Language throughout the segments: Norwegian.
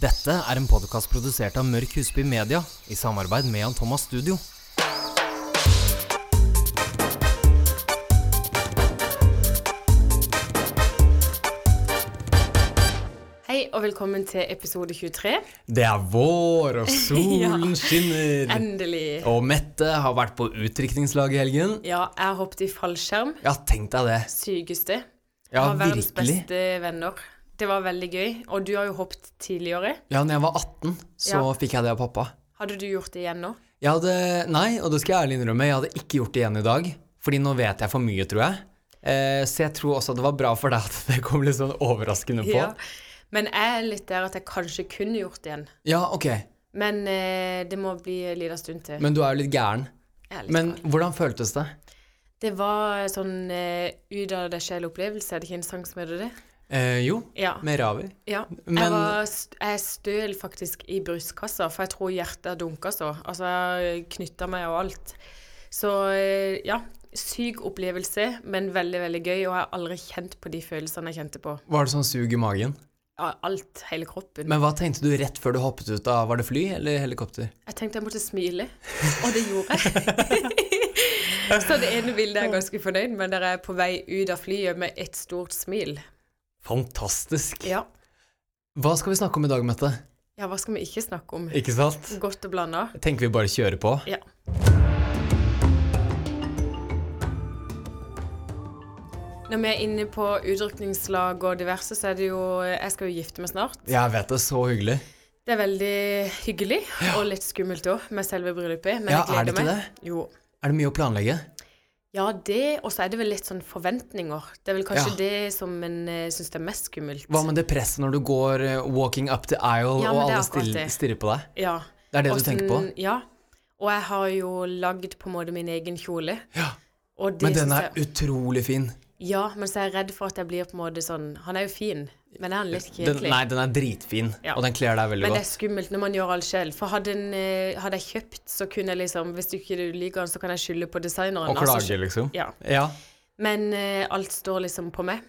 Dette er en podkast produsert av Mørk Husby Media i samarbeid med Jan Thomas Studio. Hei og velkommen til episode 23. Det er vår, og solen Ja. skinner. Endelig. Og Mette har vært på utdrikningslag i helgen. Ja, jeg hoppet i fallskjerm. Ja, tenk deg det. Sykeste. Ja, Har verdens virkelig. beste venner. Det var veldig gøy. Og du har jo hoppet tidligere. Ja, når jeg var 18, så Ja. fikk jeg det av pappa. Hadde du gjort det igjen nå? Jeg hadde Nei, og det skal jeg ærlig innrømme, jeg hadde ikke gjort det igjen i dag. Fordi nå vet jeg for mye, tror jeg. Eh, så jeg tror også det var bra for deg at det kom litt sånn overraskende på. Ja, Men jeg er litt der at jeg kanskje kunne gjort det igjen. ok. Men eh, det må bli en liten stund til. Men du er jo litt gæren. Jeg er litt Men gal. hvordan føltes det? Det var sånn eh, ut av deg sjel-opplevelse. Er det ikke en sang som heter det? Eh, jo, Ja. med ravi. Ja. Men- Jeg, var, st- jeg støl faktisk i brystkassa, for jeg tror hjertet dunka så. Altså, jeg knytta meg og alt. Så eh, ja, syk opplevelse, men veldig, veldig gøy. Og jeg har aldri kjent på de følelsene jeg kjente på. Var det sånn sug i magen? Ja, Alt, hele kroppen. Men hva tenkte du rett før du hoppet ut av Var det fly eller helikopter? Jeg tenkte jeg måtte smile, og det gjorde jeg. så det ene bildet er jeg ganske fornøyd med, der jeg er på vei ut av flyet med et stort smil. Fantastisk. Ja. Hva skal vi snakke om i dag, Mette? ja, hva skal vi ikke snakke om? Ikke sant? Godt og blanda. Tenker vi bare kjører på? Ja. Når vi er inne på utrykningslag og diverse, så er det jo Jeg skal jo gifte meg snart. Jeg vet det, så hyggelig. Det er veldig hyggelig, og litt skummelt òg, med selve bryllupet. Men Ja, jeg gleder er det ikke meg. det? Jo. Er det mye å planlegge? Ja, det, og så er det vel litt sånn forventninger. Det er vel kanskje Ja. det som en syns er mest skummelt. Hva med det presset når du går eh, walking up the aisle Ja, men og det er alle akkurat still, det. stirrer på deg? Ja. Det er det Og du tenker på? sånn- Ja. Og jeg har jo lagd på en måte min egen kjole. Ja. Og det Men den synes er utrolig fin. Ja, men så er jeg redd for at jeg blir på en måte sånn Han er jo fin, men er han litt Den, kjedelig? nei, den er dritfin, Ja. og den kler deg veldig Men godt. det er skummelt når man gjør alt selv. For hadde, en, eh, hadde jeg kjøpt, så kunne jeg liksom Hvis du ikke du liker den, så kan jeg skylde på designeren. Og altså, klager, liksom. ja. Ja. Men eh, alt står liksom på meg.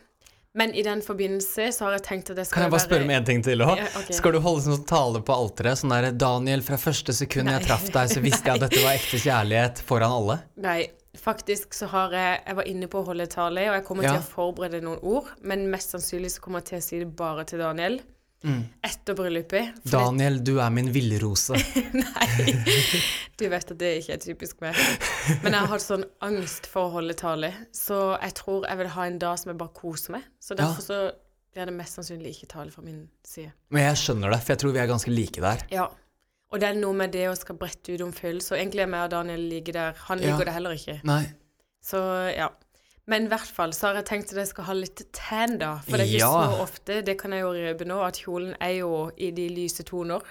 Men i den forbindelse så har jeg tenkt at jeg skal Kan jeg bare spørre om en ting til òg? Ja, ok. Skal du holde sånn tale på alteret? Sånn der 'Daniel, fra første sekund jeg Nei. traff deg, så visste jeg at dette var ekte kjærlighet' foran alle? Nei, faktisk så har jeg Jeg var inne på å holde tale, og jeg kommer Ja. til å forberede noen ord. Men mest sannsynlig så kommer jeg til å si det bare til Daniel. Etter bryllupet. For Mm. det- Daniel, du er min villrose. Nei, du vet at det ikke er typisk meg. Men jeg har hatt sånn angst for å holde tale, så jeg tror jeg vil ha en dag som jeg bare koser meg. Så derfor så blir det mest sannsynlig ikke tale fra min side. Men jeg skjønner det, for jeg tror vi er ganske like der. Ja. Og det er noe med det å skal brette ut om følelser. Egentlig er meg og Daniel like der. Han Ja. liker det heller ikke. Nei. Så ja. Men i hvert fall så har jeg tenkt at jeg skal ha litt tan, da. For det er ikke Ja. så ofte, det kan jeg jo røpe nå, at kjolen er jo i de lyse toner.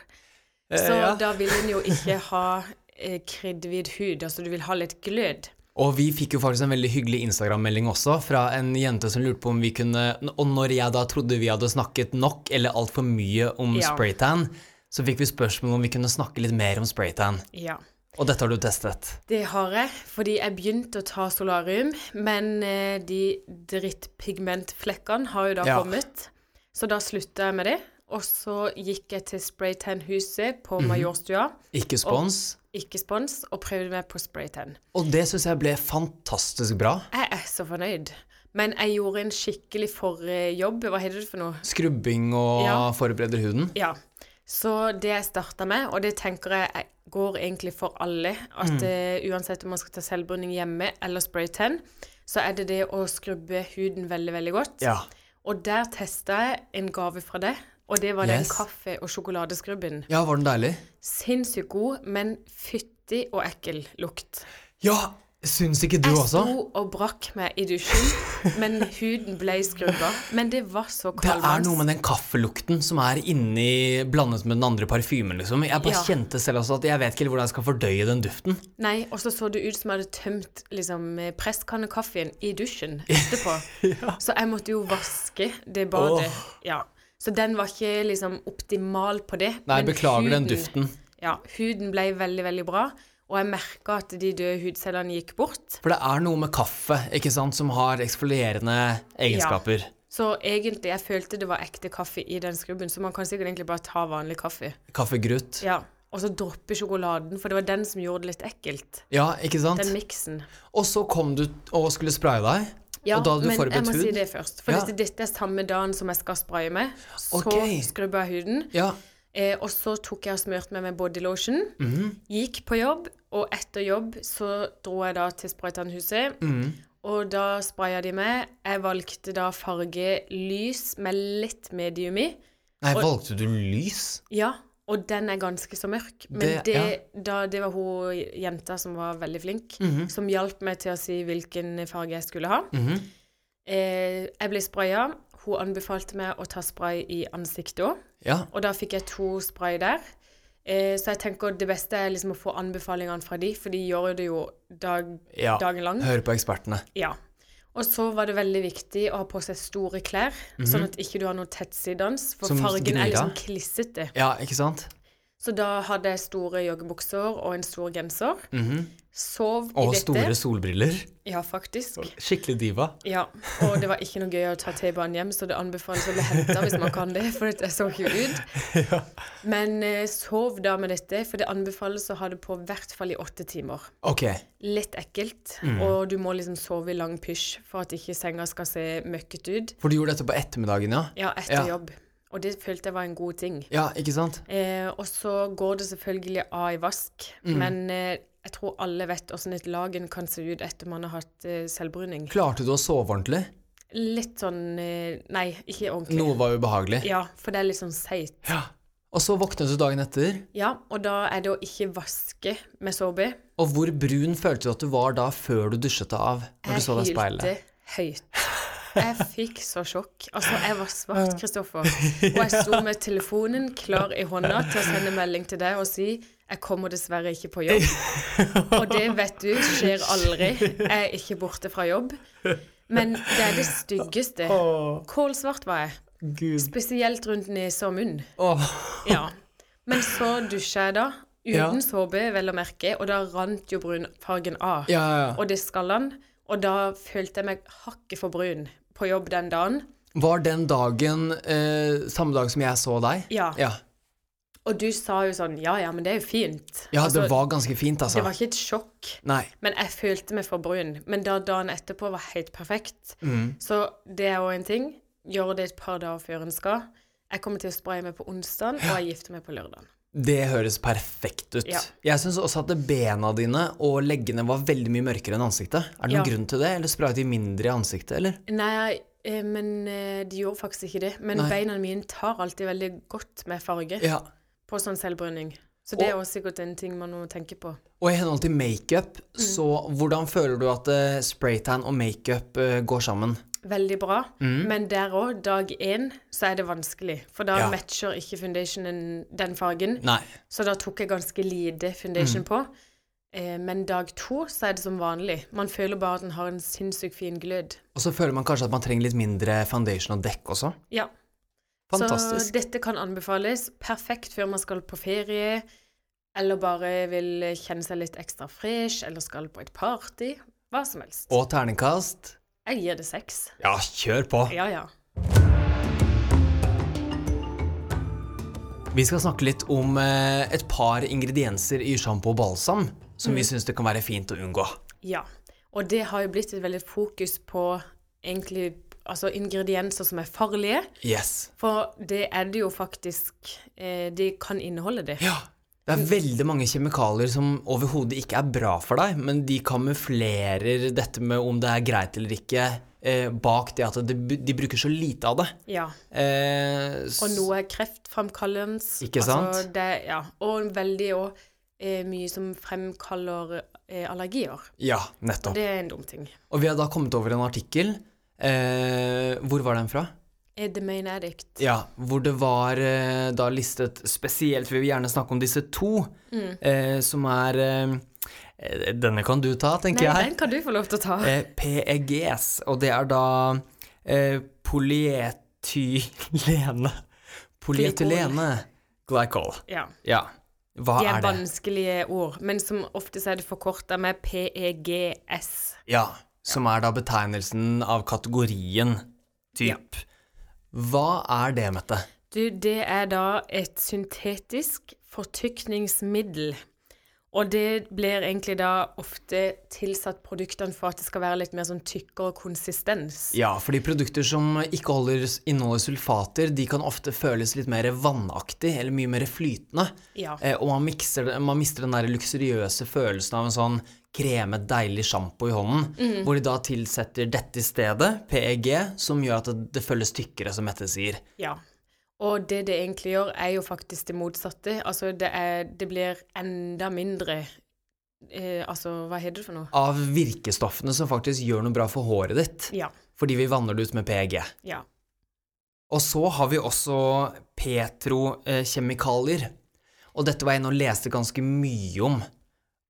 Så Eh, ja. da vil en jo ikke ha eh, kriddhvit hud, altså du vil ha litt glød. Og vi fikk jo faktisk en veldig hyggelig Instagram-melding også, fra en jente som lurte på om vi kunne Og når jeg da trodde vi hadde snakket nok eller altfor mye om Ja. spraytan, så fikk vi spørsmål om vi kunne snakke litt mer om spraytan. Ja. Og dette har du testet. Det har jeg, fordi jeg begynte å ta solarium, men eh, de drittpigmentflekkene har jo da Ja. kommet. Så da slutta jeg med det, og så gikk jeg til spraytan-huset på Majorstua, Ikke spons. ikke spons, og prøvde meg på spraytan. Og det syns jeg ble fantastisk bra. Jeg er så fornøyd. Men jeg gjorde en skikkelig forjobb. Hva heter det for noe? Skrubbing og Ja. forbereder huden. Ja. Så det jeg starta med, og det tenker jeg er- går egentlig for alle, at Mm. eh, uansett om man skal ta selvbruning hjemme eller spraytan, så er det det å skrubbe huden veldig, veldig godt. Ja. Og der testa jeg en gave fra deg, og det var den Yes. kaffe- og sjokoladeskrubben. ja, var den deilig? Sinnssykt god, men fyttig og ekkel lukt. Ja! Syns ikke du jeg også? sto og brakk meg i dusjen, men huden ble skrubba. Men det var så Det kaldt. er noe med den kaffelukten som er inni blandet med den andre parfymen, liksom. Jeg bare Ja. kjente selv også at jeg vet ikke helt hvordan jeg skal fordøye den duften. Nei, og så så det ut som jeg hadde tømt liksom, presskannekaffen i dusjen etterpå. Så jeg måtte jo vaske det badet. Ja. Så den var ikke liksom optimal på det. Nei, men beklager den huden- duften. Ja, huden ble veldig, veldig bra. Og jeg merka at de døde hudcellene gikk bort. For det er noe med kaffe, ikke sant, som har eksfolierende egenskaper. Så egentlig, jeg følte det var ekte kaffe i den skrubben, så man kan sikkert egentlig bare ta vanlig kaffe. Kaffegrutt. Ja. Og så droppe sjokoladen, for det var den som gjorde det litt ekkelt. Ja, ikke sant? Den miksen. Og så kom du og skulle spraye deg, Ja, og da hadde du men jeg forberedt må si hud. det først. For Ja. dette, dette er samme dagen som jeg skal spraye med. Så Ok. skrubba jeg huden. Ja, Eh, og så tok jeg og smurte meg med body lotion. Mhm. Gikk på jobb, og etter jobb så dro jeg da til spraytannhuset. Mhm. Og da spraya de meg. Jeg valgte da farge lys med litt medium i. Nei, valgte du lys? Ja, og den er ganske så mørk. Men det, Det- da, det var hun jenta som var veldig flink, Mhm. som hjalp meg til å si hvilken farge jeg skulle ha. eh, jeg ble spraya. Hun anbefalte meg å ta spray i ansiktet òg. Ja. Og da fikk jeg to spray der. Eh, så jeg tenker det beste er liksom å få anbefalingene fra de, for de gjør det jo dag, ja. dagen lang. Hør på ekspertene. Ja. Og så var det veldig viktig å ha på seg store klær, sånn at ikke du har noe tettsidens, Mhm. for Som fargen gnir er deg. liksom klissete. Ja, ikke sant? Så da hadde jeg store joggebukser og en stor genser. Sov i Mhm. Og dette. store solbriller. Ja, faktisk. Skikkelig diva. Ja, og det var ikke noe gøy å ta T-banen hjem, så det anbefales å bli henta hvis man kan det, for jeg så ikke ut. Men eh, sov da med dette, for det anbefales å ha det på i hvert fall i åtte timer. Ok. Litt ekkelt, Mm. og du må liksom sove i lang pysj for at ikke senga skal se møkket ut. For du gjorde dette på ettermiddagen, ja? Ja, etter Ja. jobb. Og det følte jeg var en god ting. Ja, ikke sant? Eh, og så går det selvfølgelig av i vask, men eh, jeg tror alle vet åssen et lagen kan se ut etter man har hatt eh, selvbruning. Klarte du å sove ordentlig? Litt sånn eh, Nei, ikke ordentlig. Noe var ubehagelig. Ja, for det er litt sånn seigt. Ja. Og så våknet du dagen etter, Ja, og da er det å ikke vaske med såpe. og hvor brun følte du at du var da før du dusjet deg av? Når du så deg i speilet? høyt. Jeg fikk så sjokk. Altså, jeg var svart, Kristoffer. Og jeg sto med telefonen klar i hånda til å sende melding til deg og si jeg kommer dessverre ikke på jobb. Og det vet du skjer aldri. Jeg er ikke borte fra jobb. Men det er det styggeste. Kålsvart var jeg. Gud. Spesielt rundt nese og munn. Åh. Ja. Men så dusja jeg da, uten såpe, vel å merke, og da rant jo brunfargen av. Ja, ja, ja. Og det skal han. Og da følte jeg meg hakket for brun på jobb den dagen. Var den dagen eh, samme dag som jeg så deg? Ja. Ja, Og du sa jo sånn Ja, ja, men det er jo fint. ja Altså, det var ganske fint, altså. det var ikke et sjokk. Nei. Men jeg følte meg for brun. Men da dagen etterpå var helt perfekt. Mm. Så det er òg en ting. Gjør det et par dager før en skal. Jeg kommer til å spraye meg på onsdag, og jeg gifter meg på lørdag. Det høres perfekt ut. Ja. Jeg syns også at bena dine og leggene var veldig mye mørkere enn ansiktet. Er det noen Ja. grunn til det, eller sprayet de mindre i ansiktet, eller? Nei, eh, men eh, de gjorde faktisk ikke det. Men Nei. beina mine tar alltid veldig godt med farge Ja. på sånn selvbruning. Så det er jo sikkert en ting man må tenke på. Og i henhold til makeup, Mm. så hvordan føler du at eh, spraytan og makeup eh, går sammen? Veldig bra. Mm. Men der òg, dag én, så er det vanskelig. For da Ja. matcher ikke foundationen den fargen. Nei. Så da tok jeg ganske lite Mm. foundation på. Eh, men dag to så er det som vanlig. Man føler bare at den har en sinnssykt fin glød. Og så føler man kanskje at man trenger litt mindre foundation og dekk også. Ja. Så Fantastisk. dette kan anbefales. Perfekt før man skal på ferie, eller bare vil kjenne seg litt ekstra fresh, eller skal på et party. Hva som helst. Og terningkast. Jeg gir det seks. Ja, kjør på. Ja, ja. Vi skal snakke litt om eh, et par ingredienser i sjampo og balsam Mm. som vi syns det kan være fint å unngå. Ja. Og det har jo blitt et veldig fokus på egentlig altså ingredienser som er farlige. Yes. For det er det jo faktisk eh, De kan inneholde det. Ja. Det er veldig mange kjemikalier som overhodet ikke er bra for deg, men de kamuflerer dette med om det er greit eller ikke, eh, bak det at de, de bruker så lite av det. Ja. Eh, s- Og noe er kreftfremkallende. Ikke Altså sant? det, ja. Og veldig òg eh, mye som fremkaller eh, allergier. Ja, nettopp. Det er en dum ting. Og vi har da kommet over en artikkel. Eh, hvor var den fra? Eh, The Main Addict. Ja, hvor det var eh, da listet spesielt, vi vil gjerne snakke om disse to, Mm. eh, som er eh, eh, Denne kan du ta, Nei, tenker jeg. den kan du få lov til å ta. Eh, PEGs, og det er da eh, polyetylene Polyetylene glycol. Ja. Ja. Hva De er er det? vanskelige ord, men som ofte så er det forkorta med E PEGS. Ja, som er da betegnelsen av kategorien typ Hva er det, Mette? Du, det er da et syntetisk fortykningsmiddel. Og det blir egentlig da ofte tilsatt produktene for at det skal være litt mer sånn tykkere konsistens. Ja, fordi produkter som ikke holder, inneholder sulfater, de kan ofte føles litt mer vannaktig, eller mye mer flytende. Ja. Eh, og man, mikser, det- man mister den der luksuriøse følelsen av en sånn kremet, deilig sjampo i hånden, hvor de da tilsetter dette i stedet, PEG, som gjør at det, det føles tykkere, som Mette sier. ja. Og det det egentlig gjør, er jo faktisk det motsatte. Altså det, er, det blir enda mindre eh, Altså, hva heter det for noe? Av virkestoffene som faktisk gjør noe bra for håret ditt, Ja. fordi vi vanner det ut med PEG. Ja. Og så har vi også petrokjemikalier. Og dette var jeg inne og leste ganske mye om.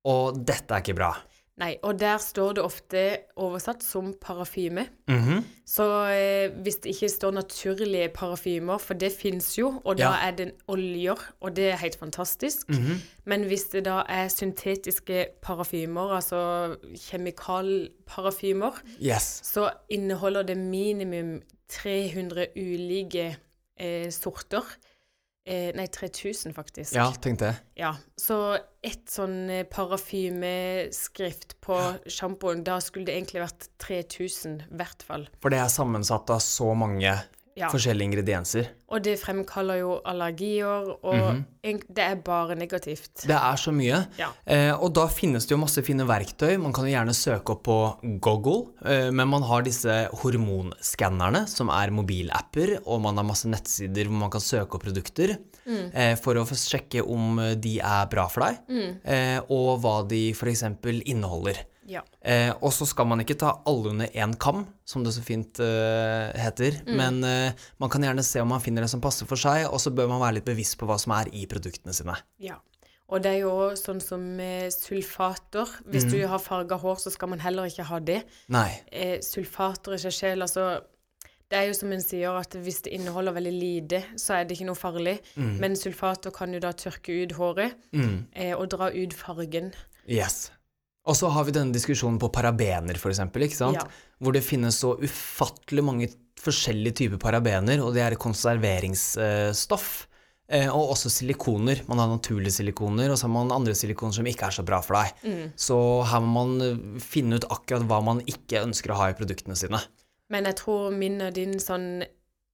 Og dette er ikke bra. Nei, og der står det ofte oversatt som parafyme. Mhm. Så eh, hvis det ikke står naturlige parfymer, for det fins jo, og da Ja. er det oljer, og det er helt fantastisk. Mhm. Men hvis det da er syntetiske parfymer, altså kjemikalparfymer, Yes. så inneholder det minimum 300 ulike eh, sorter. Eh, nei, 3000 faktisk. Ja, tenk det. Ja, så ett sånn eh, parfymeskrift på sjampoen, da skulle det egentlig vært 3000, i hvert fall. For det er sammensatt av så mange Ja. forskjellige ingredienser. Og det fremkaller jo allergier, og egentlig- det er bare negativt. Det er så mye. Ja. Eh, og da finnes det jo masse fine verktøy. Man kan jo gjerne søke opp på Google, eh, men man har disse hormonskannerne, som er mobilapper, og man har masse nettsider hvor man kan søke opp produkter Mm. eh, for å få sjekke om eh, de er bra for deg, Mm. eh, og hva de f.eks. inneholder. Ja. Eh, og så skal man ikke ta alle under én kam, som det så fint eh, heter. Men eh, man kan gjerne se om man finner det som passer for seg, og så bør man være litt bevisst på hva som er i produktene sine. ja. Og det er jo også sånn som eh, sulfater. Hvis du har farga hår, så skal man heller ikke ha det. Nei. Eh, sulfater i seg selv, altså Det er jo som en sier, at hvis det inneholder veldig lite, så er det ikke noe farlig. Men sulfater kan jo da tørke ut håret Mm. eh, og dra ut fargen. Yes. Og så har vi denne diskusjonen på parabener, for eksempel, ikke sant? Ja. hvor det finnes så ufattelig mange forskjellige typer parabener, og det er konserveringsstoff. Eh, og også silikoner. Man har naturlige silikoner, og så har man andre silikoner som ikke er så bra for deg. Så her må man eh, finne ut akkurat hva man ikke ønsker å ha i produktene sine. Men jeg tror min og din sånn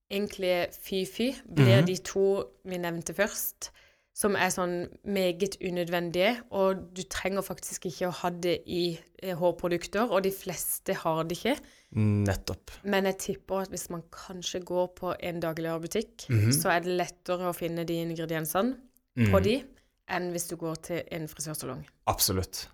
egentlig fy-fy blir de to vi nevnte først, som er sånn meget unødvendige, og du trenger faktisk ikke å ha det i eh, hårprodukter, og de fleste har det ikke. Nettopp. Men jeg tipper at hvis man kanskje går på en dagligvarebutikk, så er det lettere å finne de ingrediensene på de, enn hvis du går til en frisørsalong. Absolutt.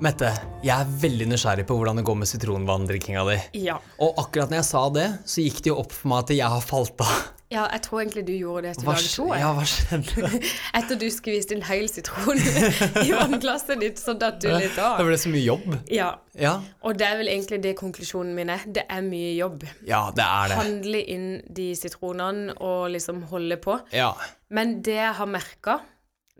Mette, jeg er veldig nysgjerrig på hvordan det går med sitronvanndrikkinga di. Ja. Og akkurat når jeg sa det, så gikk det jo opp for meg at jeg har falt av. ja, jeg tror egentlig du gjorde det etter Hva, dag sk- to. jeg. ja, hva skjedde? Etter du skviste en hel sitron i vannglasset ditt, så datt du litt Det av. ble så mye jobb. Ja, Ja, og det er vel egentlig det konklusjonen min er. Det er mye jobb. ja det er det. Handle inn de sitronene og liksom holde på. Ja. Men det jeg har merka,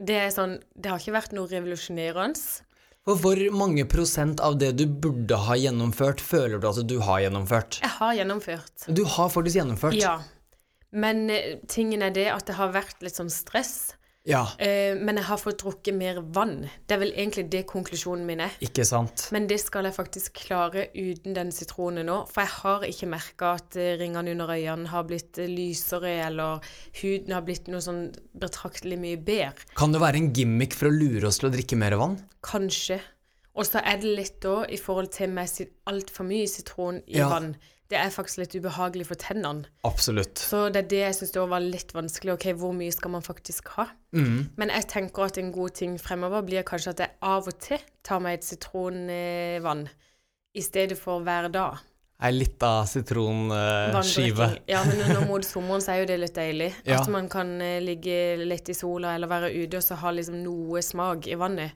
det er sånn Det har ikke vært noe revolusjonerende. For hvor mange prosent av det du burde ha gjennomført, føler du at du har gjennomført? Jeg har gjennomført. Du har faktisk gjennomført. Ja. Men eh, tingen er det at det har vært litt sånn stress. Ja, Eh, men jeg har fått drukket mer vann. Det er vel egentlig det konklusjonen min er. Ikke sant? Men det skal jeg faktisk klare uten den sitronen nå, for jeg har ikke merka at eh, ringene under øynene har blitt eh, lysere, eller huden har blitt noe sånn betraktelig mye bedre. Kan det være en gimmick for å lure oss til å drikke mer vann? Kanskje. Og så er det litt da i forhold til med sit- altfor mye sitron i Ja. vann. Det er faktisk litt ubehagelig for tennene. Absolutt. Så det er det jeg syns var litt vanskelig. Ok, hvor mye skal man faktisk ha? Men jeg tenker at en god ting fremover blir kanskje at jeg av og til tar meg et sitronvann i stedet for hver dag. Ei lita Eh, sitronskive. Vanndrikking. Ja, men nå mot sommeren så er jo det litt deilig. Ja. At man kan eh, ligge litt i sola eller være ute og så ha liksom noe smak i vannet.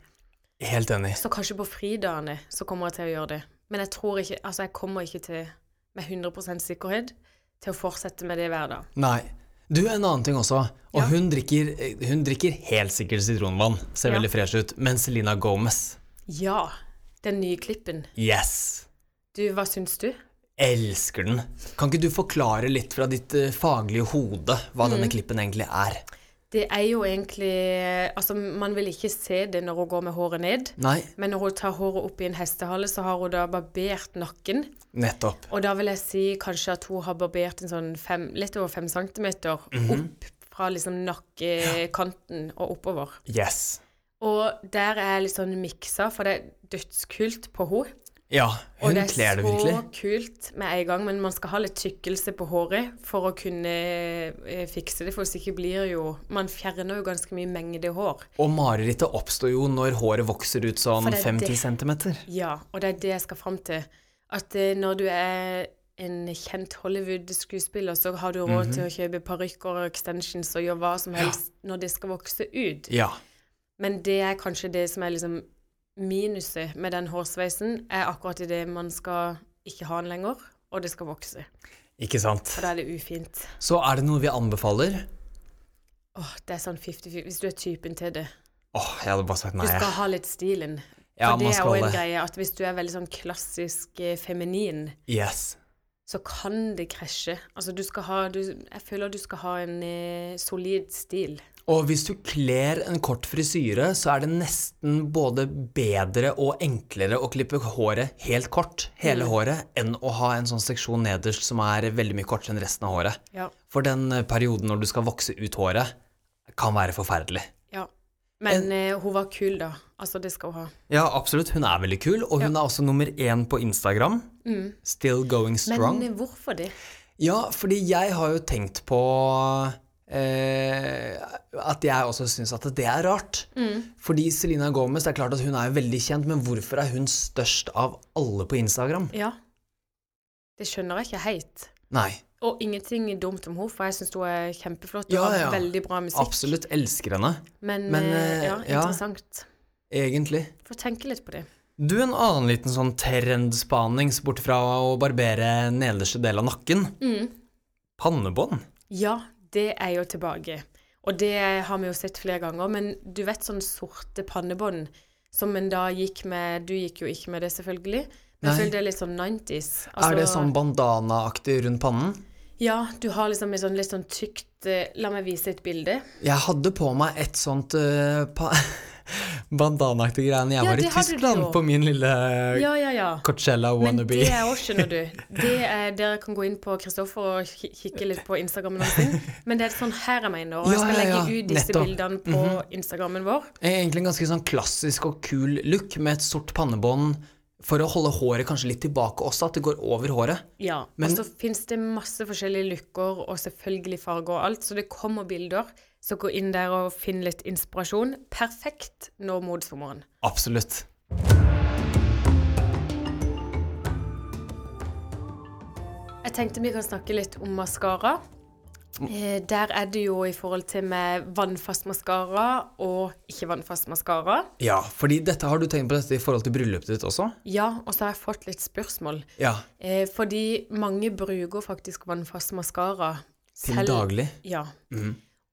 Helt enig. Så kanskje på fridagene så kommer jeg til å gjøre det. Men jeg tror ikke Altså, jeg kommer ikke til, med 100 sikkerhet, til å fortsette med det hver dag. Nei. Du, en annen ting også. Og Ja. hun, drikker, hun drikker helt sikkert sitronvann. Ser Ja. veldig fresh ut. Men Selena Gomez Ja. Den nye klippen. Yes! Du, hva syns du? Elsker den. Kan ikke du forklare litt fra ditt eh, faglige hode hva Mm. denne klippen egentlig er? Det er jo egentlig Altså, man vil ikke se det når hun går med håret ned. Nei, Men når hun tar håret opp i en hestehale, så har hun da barbert nakken. nettopp. Og da vil jeg si kanskje at hun har barbert en sånn fem, litt over fem centimeter Mhm. opp fra liksom nakkekanten og oppover. Yes. Og der er jeg litt sånn miksa, for det er dødskult på henne. Ja, Og hun det kler er det virkelig. så kult med en gang, men man skal ha litt tykkelse på håret for å kunne eh, fikse det, for hvis ikke blir jo Man fjerner jo ganske mye mengde hår. Og marerittet oppstår jo når håret vokser ut sånn For det er 50 det- cm. Ja, og det er det jeg skal fram til. At eh, når du er en kjent Hollywood-skuespiller, så har du råd Mhm. til å kjøpe parykker og extensions og gjøre hva som helst når det skal vokse ut. Ja. Men det er kanskje det som er liksom minuset med den hårsveisen, er akkurat i det man skal ikke ha den lenger, og det skal vokse. Ikke sant. Og da er det ufint. Så er det noe vi anbefaler? Åh, det er sånn 50-50 hvis du er typen til det. Åh, jeg hadde bare sagt Du nei. skal jeg. ha litt stilen. Ja, For man det er jo skal en det. greie at hvis du er veldig sånn klassisk eh, feminin, Yes. så kan det krasje. Altså, du skal ha du, Jeg føler du skal ha en eh, solid stil. Og hvis du kler en kort frisyre, så er det nesten både bedre og enklere å klippe håret helt kort, hele håret, enn å ha en sånn seksjon nederst som er veldig mye kortere enn resten av håret. Ja. For den eh, perioden når du skal vokse ut håret, kan være forferdelig. ja. Men eh, hun var kul, da. Altså, det skal hun ha. Ja, absolutt. Hun er veldig kul, og hun er også nummer én på Instagram. Mm. Still going Men strong. eh, hvorfor det? Ja, fordi jeg har jo tenkt på eh, at jeg også syns at det er rart. Fordi Selena Gomez, det er klart at hun er jo veldig kjent, men hvorfor er hun størst av alle på Instagram? Ja. Det skjønner jeg ikke helt. Nei, Og ingenting dumt om henne, for jeg syns hun er kjempeflott og Ja, har ja. veldig bra musikk. absolutt elsker henne, Men, Men, eh, ja, eh, ja. interessant. egentlig. Få tenke litt på det. Du, en annen liten sånn trendspanings bort fra å barbere nederste del av nakken. Pannebånd. Ja, det er jo tilbake. Og det har vi jo sett flere ganger. Men du vet sånn sorte pannebånd som en da gikk med Du gikk jo ikke med det, selvfølgelig. Men Nei. jeg føler det er litt sånn 90s. er det sånn bandanaaktig rundt pannen? Ja, du har liksom et sånn litt sånn tykt eh, La meg vise et bilde. Jeg hadde på meg et sånt uh, pa bandanaaktig greie når jeg Ja, var i det hadde du Tyskland jo. på min lille eh, Ja, ja, ja. Coachella Men wannabe. det er òg, skjønner du. Det er, dere kan gå inn på Kristoffer og ki- kikke litt på Instagrammen hans. Men det er sånn her jeg mener. Og jeg Ja, skal ja, ja. legge ut disse Nettopp. Mhm. bildene på Instagrammen vår. Egentlig en ganske sånn klassisk og kul look med et sort pannebånd for å holde håret kanskje litt tilbake også, at det går over håret. Ja, Men- og så finnes det masse forskjellige looker og selvfølgelig farger og alt, så det kommer bilder. Så gå inn der og finn litt inspirasjon. Perfekt nå mot sommeren. Absolutt. Jeg tenkte vi kan snakke litt om maskara. Eh, der er det jo i forhold til med vannfast maskara og ikke vannfast maskara. Ja, fordi dette har du tenkt på dette i forhold til bryllupet ditt også? Ja, og så har jeg fått litt spørsmål. Ja. Eh, fordi mange bruker faktisk vannfast maskara. Til selv- daglig. Mhm. Ja.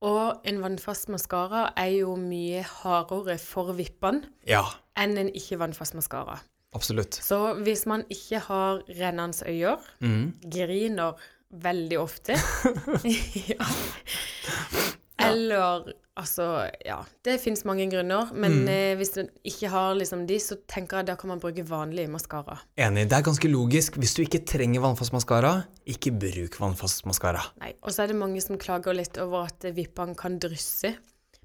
Og en vannfast maskara er jo mye hardere for vippene Ja, enn en ikke vannfast maskara. absolutt. Så hvis man ikke har rennende øyer, Mhm. griner veldig ofte ja. Eller altså Ja. Det fins mange grunner, Mhm. men eh, hvis man ikke har liksom de, så tenker jeg da kan man bruke vanlig maskara. Enig. Det er ganske logisk. Hvis du ikke trenger vannfast maskara, ikke bruk vannfast maskara. Nei, og så er det mange som klager litt over at vippene kan drysse.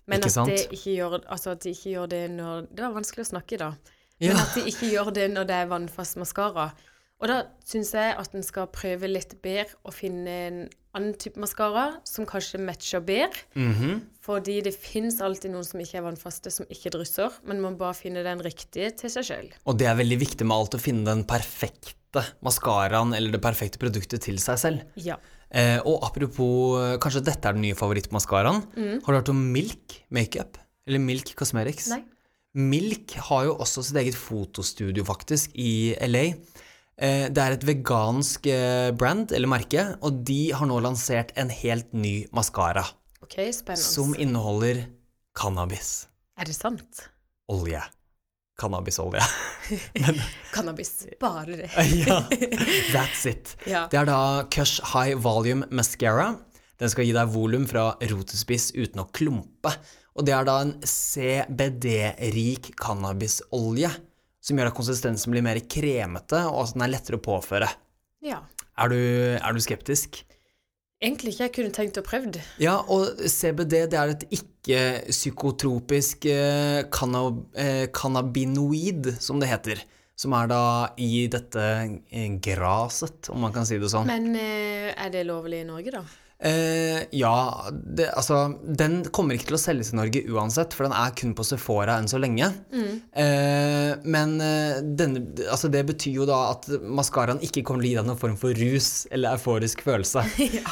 Men Ikke at de, sant? ikke gjør, altså at de ikke gjør det når Det var vanskelig å snakke i dag. Ja. Men at de ikke gjør det når det er vannfast maskara. Og da syns jeg at en skal prøve litt bedre å finne en annen type maskara som kanskje matcher bedre. Mhm. Fordi det fins alltid noen som ikke er vannfaste, som ikke drysser. Men man må bare finne den riktige til seg sjøl. Og det er veldig viktig med alt å finne den perfekte maskaraen eller det perfekte produktet til seg selv. Ja. Eh, og apropos, eh, kanskje dette er den nye favorittmaskaraen. Mm. Har du hørt om Milk makeup? Eller Milk Cosmetics? Nei. Milk har jo også sitt eget fotostudio, faktisk, i LA. Eh, Det er et vegansk eh, brand, eller merke, og de har nå lansert en helt ny maskara OK, spennende. som inneholder cannabis. Er det sant? Olje. cannabisolje. Cannabis. Bare det. ja, that's it. Ja. Det er da Cush High Volume Mascara. Den skal gi deg volum fra rot til spiss uten å klumpe. Og det er da en CBD-rik cannabisolje, som gjør at konsistensen blir mer kremete, og at den er lettere å påføre. ja. Er du, er du skeptisk? Egentlig ikke. Jeg kunne tenkt og prøvd. Ja, og CBD det er et ikke-psykotropisk eh, canna- eh, cannabinoid, som det heter. Som er da i dette eh, graset, om man kan si det sånn. Men eh, er det lovlig i Norge, da? Eh, ja, det, altså Den kommer ikke til å selges i Norge uansett, for den er kun på Sephora enn så lenge. Eh, men eh, denne, altså det betyr jo da at maskaraen ikke kommer til å gi deg noen form for rus eller euforisk følelse.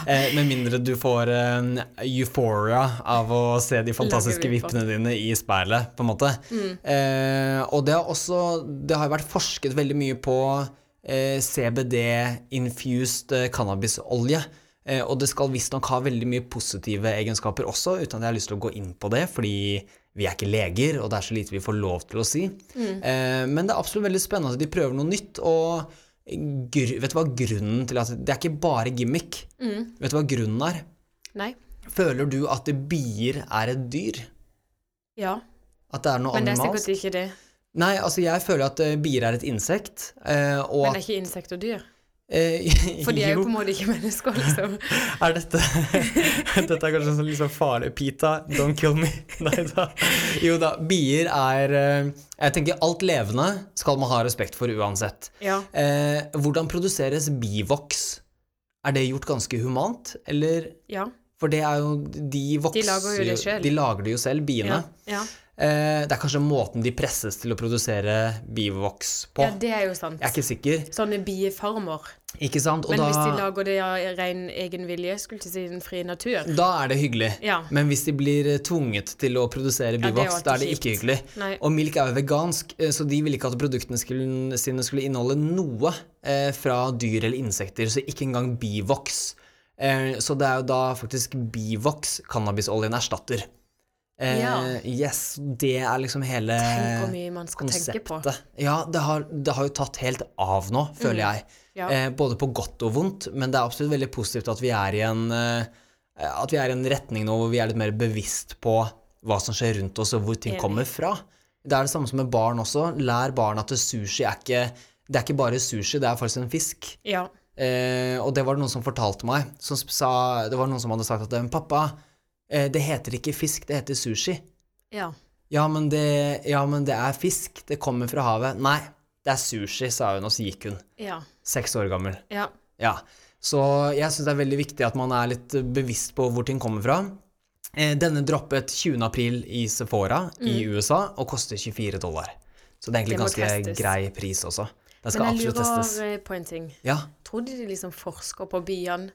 eh, med mindre du får eh, euphoria av å se de fantastiske Lager vippene dine i speilet, på en måte. Eh, og det har også Det har jo vært forsket veldig mye på eh, CBD-infused eh, cannabisolje. Eh, og det skal visstnok ha veldig mye positive egenskaper også, uten at jeg har lyst til å gå inn på det, fordi vi er ikke leger, og det er så lite vi får lov til å si. Eh, men det er absolutt veldig spennende at de prøver noe nytt. og gr vet du hva grunnen til at Det er ikke bare gimmick. Vet du hva grunnen er? Nei. Føler du at bier er et dyr? Ja. At det er noe Men det er animalsk? sikkert ikke det. Nei, altså jeg føler at eh, bier er et insekt, eh, og Men at det er ikke insekter og dyr. eh, For de er jo jo, på en måte ikke mennesker, liksom. er dette Dette er kanskje sånn liksom farlig. Pita, don't kill me. Nei da. Jo da, bier er eh, Jeg tenker alt levende skal man ha respekt for uansett. Ja. Eh, hvordan produseres bivoks? Er det gjort ganske humant, eller? Ja. For det er jo De vokser lager jo det selv. De lager det jo selv, biene. Ja. ja. Eh, det er kanskje måten de presses til å produsere bivoks på. ja det er jo sant. Jeg er ikke sikker. Sånne biefarmer. Ikke sant? Og Men hvis de da, lager det av ren egen vilje, skulle til å si den frie natur da er det hyggelig. Ja. Men hvis de blir eh, tvunget til å produsere det er jo bivoks, da er det alltid ikke kjipt. hyggelig. Nei. Og Milk er jo vegansk, eh, så de ville ikke at produktene skulle, sine skulle inneholde noe eh, fra dyr eller insekter, så ikke engang bivoks. Eh, så det er jo da faktisk bivoks cannabisoljen erstatter. Eh, Ja. Yes, det er liksom hele Tenk hvor mye man skal tenke på. konseptet. Ja, det har, det har jo tatt helt av nå, føler jeg. Mm. Ja. Eh, både på godt og vondt, men det er absolutt veldig positivt at vi er i en, eh, at vi er i en retning nå hvor vi er litt mer bevisst på hva som skjer rundt oss, og hvor ting Enig. kommer fra. Det er det samme som med barn også. Lær barn at sushi er ikke, det er ikke bare sushi, det er faktisk en fisk. Ja. Eh, og det var det noen som fortalte meg. Som sp- sa, det var noen som hadde sagt at «Men pappa, eh, det heter ikke fisk, det heter sushi. Ja. Ja men, det, ja, men det er fisk. Det kommer fra havet. Nei, det er sushi, sa hun, og så gikk hun. Ja. Seks år gammel. ja. Ja. Så jeg syns det er veldig viktig at man er litt bevisst på hvor ting kommer fra. Eh, Denne droppet 20. april i Sephora i USA og koster 24 dollar. Så det er egentlig Mm. Det må ganske testes. grei pris også. Den skal Men jeg absolutt testes. lurer eh, på en ting. Ja. Tror du de liksom forsker på biene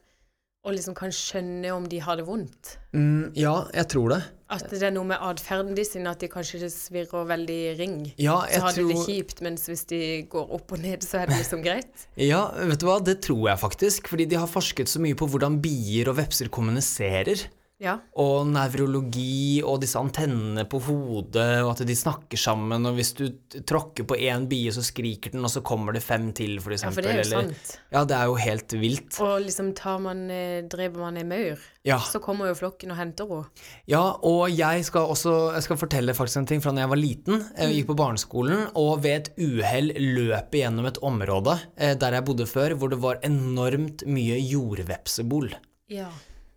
og liksom kan skjønne om de har det vondt? Mm, ja, jeg tror det. At det er noe med atferden de sin, at de kanskje svirrer veldig i ring. Ja, Så jeg har de det tror- kjipt, mens hvis de går opp og ned, så er det liksom greit. Ja, vet du hva, det tror jeg faktisk. Fordi de har forsket så mye på hvordan bier og vepser kommuniserer. Ja. og nevrologi og disse antennene på hodet, og at de snakker sammen, og hvis du t- tråkker på én bie, så skriker den, og så kommer det fem til, for Ja, eksempel. for det er jo eller- sant. Ja, det er jo helt vilt. Og liksom tar man, eh, dreper man en maur, Ja. så kommer jo flokken og henter henne. Ja, og jeg skal også jeg skal fortelle faktisk en ting fra da jeg var liten. Jeg Mm. gikk på barneskolen, og ved et uhell løp jeg gjennom et område eh, der jeg bodde før, hvor det var enormt mye jordvepsebol. Ja.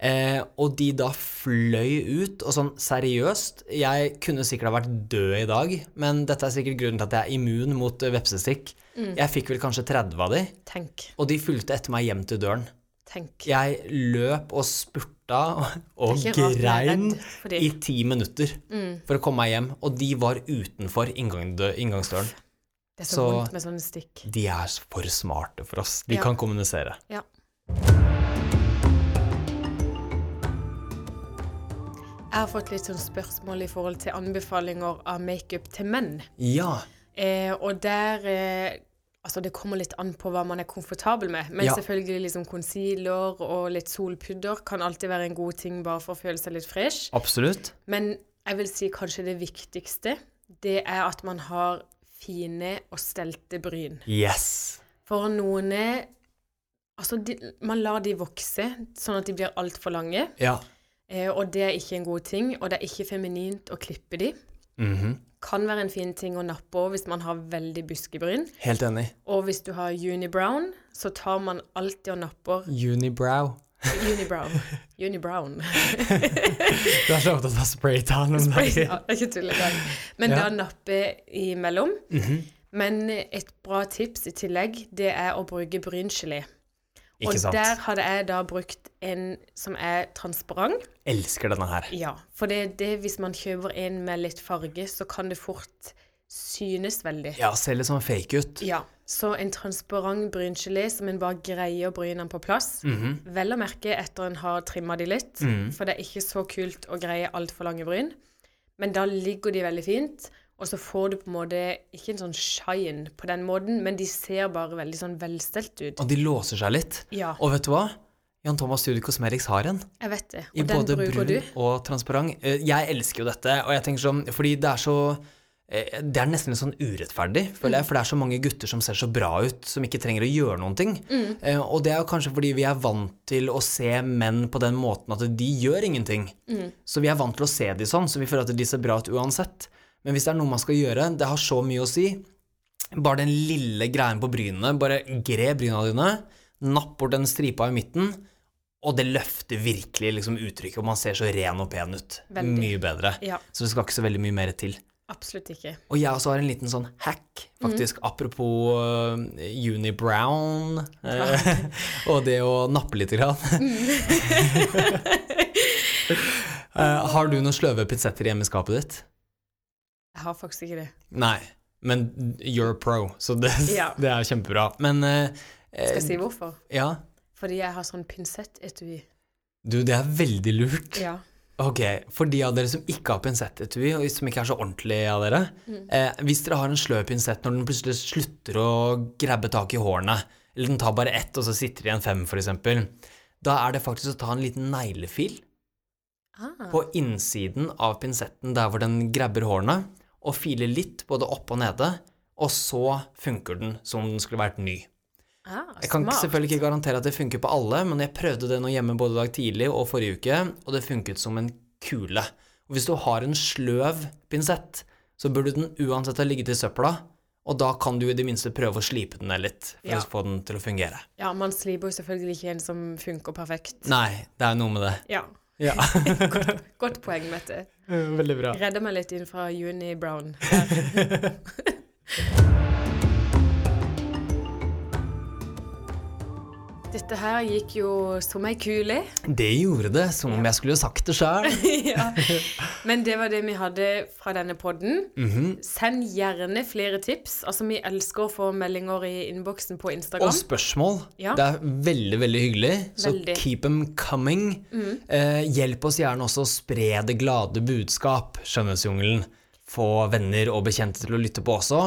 Eh, og de da fløy ut, og sånn seriøst Jeg kunne sikkert ha vært død i dag, men dette er sikkert grunnen til at jeg er immun mot eh, vepsestikk. Mm. Jeg fikk vel kanskje 30 av de, Tenk. og de fulgte etter meg hjem til døren. Tenk. Jeg løp og spurta og Det er Mm. ikke rart jeg er grein redd for de. i ti minutter for å komme meg hjem, og de var utenfor inngang- dø- inngangsdøren. Det er så, så- vondt med sånne stikk. De er s- for smarte for oss. De Ja. kan kommunisere. Ja. Jeg har fått litt sånn spørsmål i forhold til anbefalinger av makeup til menn. Ja. Eh, og der eh, Altså, det kommer litt an på hva man er komfortabel med. Men Ja. selvfølgelig liksom concealer og litt solpudder kan alltid være en god ting bare for å føle seg litt fresh. Absolutt. Men jeg vil si kanskje det viktigste, det er at man har fine og stelte bryn. Yes. For noen er Altså, de, man lar de vokse sånn at de blir altfor lange, Ja. eh, og det er ikke en god ting. Og det er ikke feminint å klippe de. Mhm. Kan være en fin ting å nappe over hvis man har veldig buskebryn. Helt enig. Og hvis du har unibrown, så tar man alltid og napper Unibrow. unibrown. Unibrown. Du er så opptatt av spraytan om Spray- dagen. Ja, det er ikke tull engang. Men Ja. Mhm. da nappe imellom. Men et bra tips i tillegg, det er å bruke bryngelé. Og Ikke sant. der hadde jeg da brukt en som er transparent. Elsker denne her. Ja, for det er det hvis man kjøper en med litt farge, så kan det fort synes veldig. Ja, ser litt sånn fake ut. Ja, så en transparent bryngelé som en bare greier å bryne den på plass. Mhm. Vel å merke etter en har trimma de litt, for det er ikke så kult å greie altfor lange bryn. Men da ligger de veldig fint, og så får du på en måte ikke en sånn shine på den måten, men de ser bare veldig sånn velstelt ut. Og de låser seg litt. Ja, Og vet du hva? Jan Thomas Studio Cosmetics har en. jeg vet det. I Og den både bruker brun du. og transparent. Eh, Jeg elsker jo dette, og jeg tenker sånn Fordi det er så eh, Det er nesten litt sånn urettferdig, føler Mm. jeg, for det er så mange gutter som ser så bra ut, som ikke trenger å gjøre noen ting. Mm. Eh, Og det er jo kanskje fordi vi er vant til å se menn på den måten at de gjør ingenting. Mm. Så vi er vant til å se de sånn, så vi føler at de ser bra ut uansett. Men hvis det er noe man skal gjøre, det har så mye å si. Bare den lille greien på brynene. Bare gre bryna dine, napp bort den stripa i midten, og det løfter virkelig liksom uttrykket, og man ser så ren og pen ut. Veldig. Mye bedre. Ja, Så det skal ikke så veldig mye mer til. absolutt ikke. Og jeg også har en liten sånn hack, Mm. faktisk, apropos øh, unibrown eh, og det å nappe lite grann. Mm. Eh, har du noen sløve pinsetter hjemme i skapet ditt? Jeg har faktisk ikke det. Nei, men you're pro, så det, Ja. det er kjempebra. Men eh, Skal jeg si hvorfor? ja, Fordi jeg har sånn pinsettetui. du, det er veldig lurt. Ja. Ok, For de av dere som ikke har pinsettetui, og som ikke er så ordentlige av dere Mm. eh, Hvis dere har en sløv pinsett når den plutselig slutter å grabbe tak i hårene, eller den tar bare ett, og så sitter det igjen fem, f.eks., da er det faktisk å ta en liten neglefil Ah, på innsiden av pinsetten, der hvor den grabber hårene, og filer litt både opp og nede, og så funker den som om den skulle vært ny. ah, Jeg kan ikke, smart. selvfølgelig ikke garantere at det funker på alle, men jeg prøvde det nå hjemme både dag tidlig og forrige uke, og det funket som en kule. Og hvis du har en sløv pinsett, så burde den uansett ha ligget i søpla, og da kan du i det minste prøve å slipe den ned litt for Ja. å få den til å fungere. Ja, man sliper jo selvfølgelig ikke en som funker perfekt. Nei, det er noe med det. Ja, Ja, godt poeng, Mette. Veldig bra. Redda meg litt inn fra Juni Brown. Dette her gikk jo som ei kule. Det gjorde det, som om jeg skulle sagt det sjøl. ja. Men det var det vi hadde fra denne podden. Mhm. Send gjerne flere tips. Altså, vi elsker å få meldinger i innboksen på Instagram. Og spørsmål. Ja. Det er veldig, veldig hyggelig. Så Veldig. Mm. keep them coming. Eh, hjelp oss gjerne også å spre det glade budskap, Skjønnhetsjungelen. Få venner og bekjente til å lytte på også,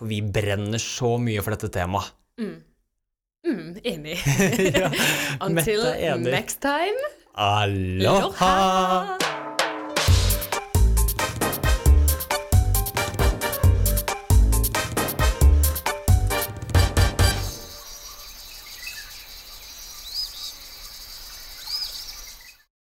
for vi brenner så mye for dette temaet. Mm, enig. ja, Mette Until er enig. next time. Aloha! Aloha!